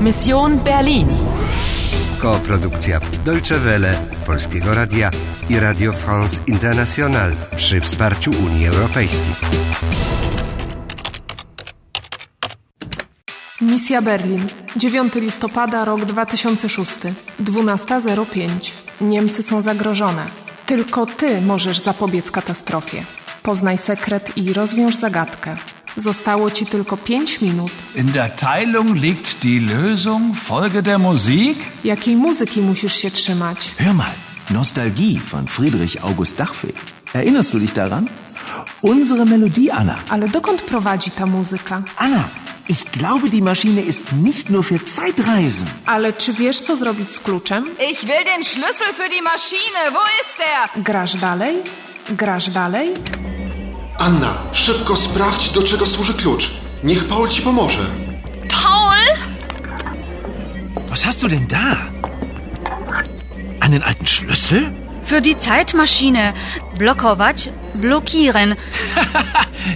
Mission Berlin. Koprodukcja Deutsche Welle, Polskiego Radia i Radio France International przy wsparciu Unii Europejskiej. Misja Berlin. 9 listopada rok 2006. 12.05. Niemcy są zagrożone. Tylko ty możesz zapobiec katastrofie. Poznaj sekret i rozwiąż zagadkę. Zostało ci tylko 5 minut. In der Teilung liegt die Lösung. Folge der Musik. Jakiej muzyki musisz się trzymać? Hör mal, Nostalgie von Friedrich August Dachfeld. Erinnerst du dich daran? Unsere Melodie, Anna. Ale dokąd prowadzi ta muzyka? Anna, ich glaube, die Maschine ist nicht nur für Zeitreisen. Ale czy wiesz, co zrobić z kluczem? Ich will den Schlüssel für die Maschine. Wo ist er? Grasz dalej? Grasz dalej? Anna, szybko sprawdź, do czego służy klucz. Niech Paul ci pomoże. Paul? Was hast du denn da? Einen alten Schlüssel? Für die Zeitmaschine. Blockować, blockieren.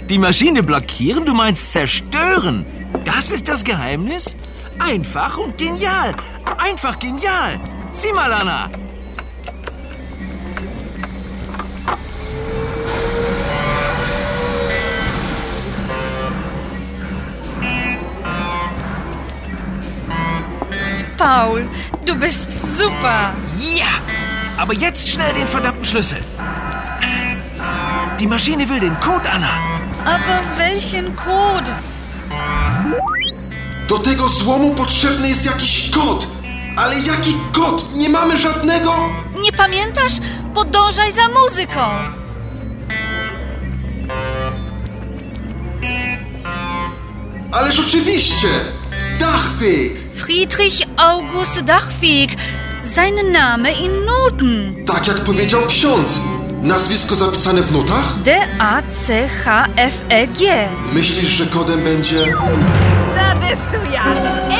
Die Maschine blockieren? Du meinst zerstören? Das ist das Geheimnis? Einfach und genial. Einfach genial. Sieh mal, Anna. Paul, du bist super. Ja. Aber jetzt schnell den verdammten Schlüssel. Die Maschine will den Code, Anna. Aber welchen Code? Do tego złomu potrzebny jest jakiś kod. Ale jaki kod? Nie mamy żadnego. Nie pamiętasz? Podążaj za muzyką. Ale rzeczywiście! Dachwyk! Friedrich August Dachweg. Sein Name in Noten. Tak jak powiedział ksiądz. Nazwisko zapisane w nutach? D-A-C-H-F-E-G. Myślisz, że kodem będzie... Da bist du ja.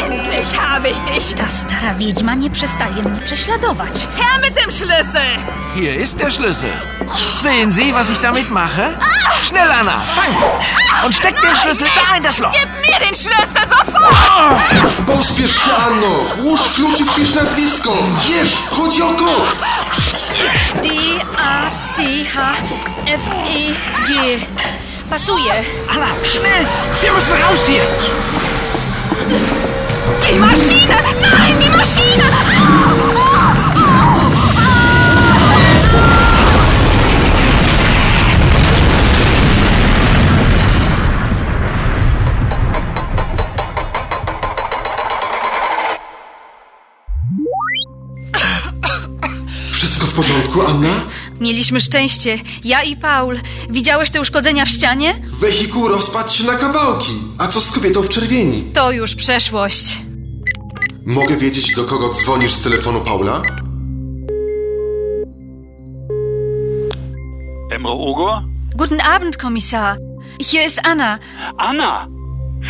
Endlich habe ich dich. Ta stara wiedźma nie przestaje mnie prześladować. Her mit dem Schlüssel. Hier ist der Schlüssel. Sehen Sie, was ich damit mache? Schnell, Anna, fang! Und steck den Schlüssel da in das Loch. Gib mir den Schlüssel sofort. Pospiesz się, Anno! Włóż klucz i wpisz nazwisko! Wiesz, chodzi o kod! D-A-C-H-F-E-G. E Pasuje. Oh, Anna, schnell! Wir müssen raus hier! Die Maschine. Nein, die Maschine. Wszystko w porządku, Anna? Mieliśmy szczęście. Ja i Paul. Widziałeś te uszkodzenia w ścianie? Wehikuł rozpadł się na kawałki. A co z kobietą w czerwieni? To już przeszłość. Mogę wiedzieć, do kogo dzwonisz z telefonu Paula? Emre Ogur? Guten Abend, Kommissar. Hier ist Anna. Anna!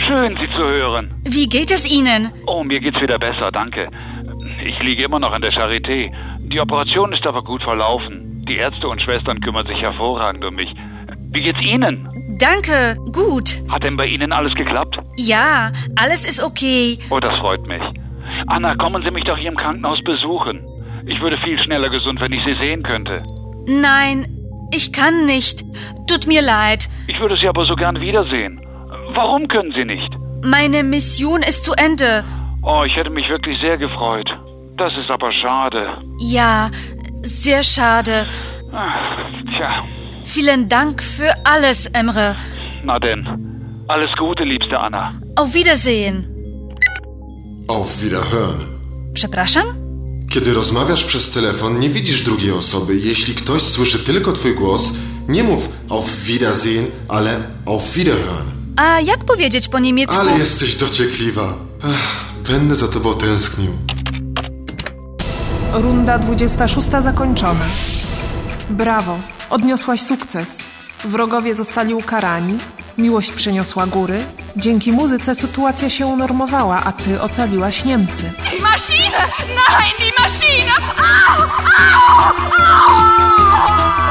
Schön, Sie zu hören. Wie geht es Ihnen? Oh, mir geht's wieder besser, danke. Ich liege immer noch in der Charité. Die Operation ist aber gut verlaufen. Die Ärzte und Schwestern kümmern sich hervorragend um mich. Wie geht's Ihnen? Danke, gut. Hat denn bei Ihnen alles geklappt? Ja, alles ist okay. Oh, das freut mich. Anna, kommen Sie mich doch hier im Krankenhaus besuchen. Ich würde viel schneller gesund, wenn ich Sie sehen könnte. Nein, ich kann nicht. Tut mir leid. Ich würde Sie aber so gern wiedersehen. Warum können Sie nicht? Meine Mission ist zu Ende. Oh, ich hätte mich wirklich sehr gefreut. Das ist aber schade. Ja, sehr schade. Ach, tja, Vielen Dank für alles, Emre. na denn. Alles Gute, liebste Anna. Auf Wiedersehen. Auf Wiederhören. Przepraszam? Kiedy rozmawiasz przez telefon, nie widzisz drugiej osoby. Jeśli ktoś słyszy tylko twój głos, nie mów auf Wiedersehen, ale auf Wiederhören. A jak powiedzieć po niemiecku? Ale jesteś dociekliwa. Ach, będę za tobą tęsknił. Runda 26 zakończona. Brawo, odniosłaś sukces. Wrogowie zostali ukarani, miłość przyniosła góry. Dzięki muzyce sytuacja się unormowała, a ty ocaliłaś Niemcy. Die Maschine. Nein, die Maschine. Au, au, au.